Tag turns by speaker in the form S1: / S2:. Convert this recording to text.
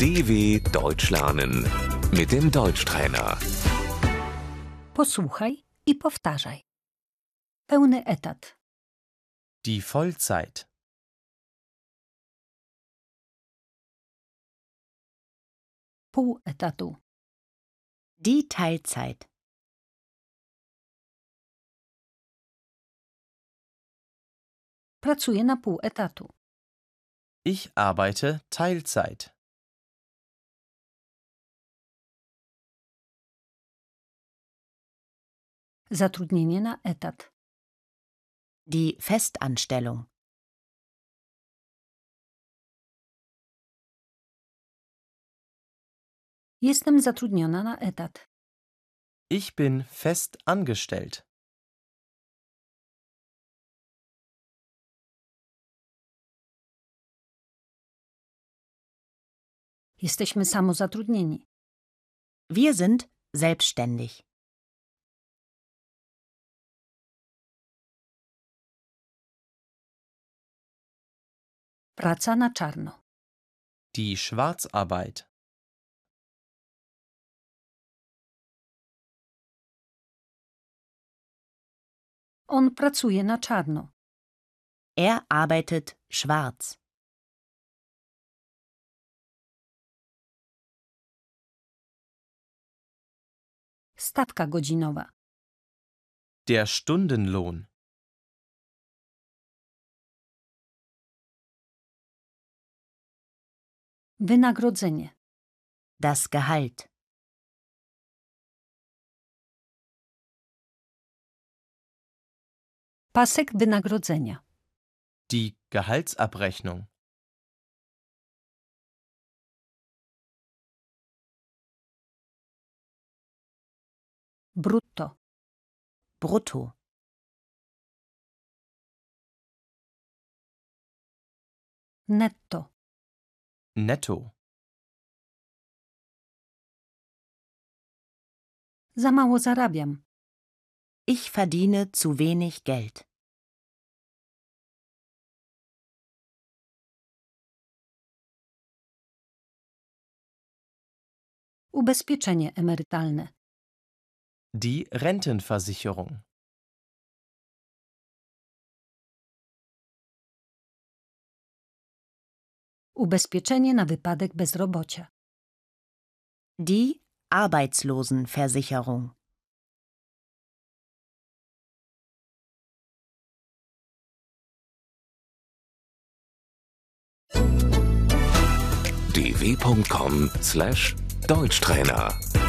S1: DW Deutsch lernen mit dem Deutschtrainer.
S2: Posłuchaj i powtarzaj. Pełny etat.
S3: Die Vollzeit.
S2: Pół etatu.
S4: Die Teilzeit.
S2: Pracuję na pół etatu.
S3: Ich arbeite Teilzeit.
S2: Zatrudnienie na etat.
S4: Die Festanstellung.
S2: Jestem zatrudniona na etat.
S3: Ich bin fest angestellt.
S2: Jesteśmy samozatrudnieni.
S4: Wir sind selbstständig.
S2: Praca na czarno.
S3: Die Schwarzarbeit.
S2: On pracuje na czarno.
S4: Er arbeitet schwarz.
S2: Stawka godzinowa.
S3: Der Stundenlohn.
S2: Wynagrodzenie.
S4: Das Gehalt.
S2: Pasek wynagrodzenia.
S3: Die Gehaltsabrechnung.
S2: Brutto.
S4: Brutto.
S2: Netto.
S3: Netto.
S2: Za mało zarabiam.
S4: Ich verdiene zu wenig Geld.
S2: Ubezpieczenie emerytalne.
S3: Die Rentenversicherung.
S2: Ubezpieczenie na wypadek bezrobocia.
S4: Die Arbeitslosenversicherung.
S1: dw.com/deutschtrainer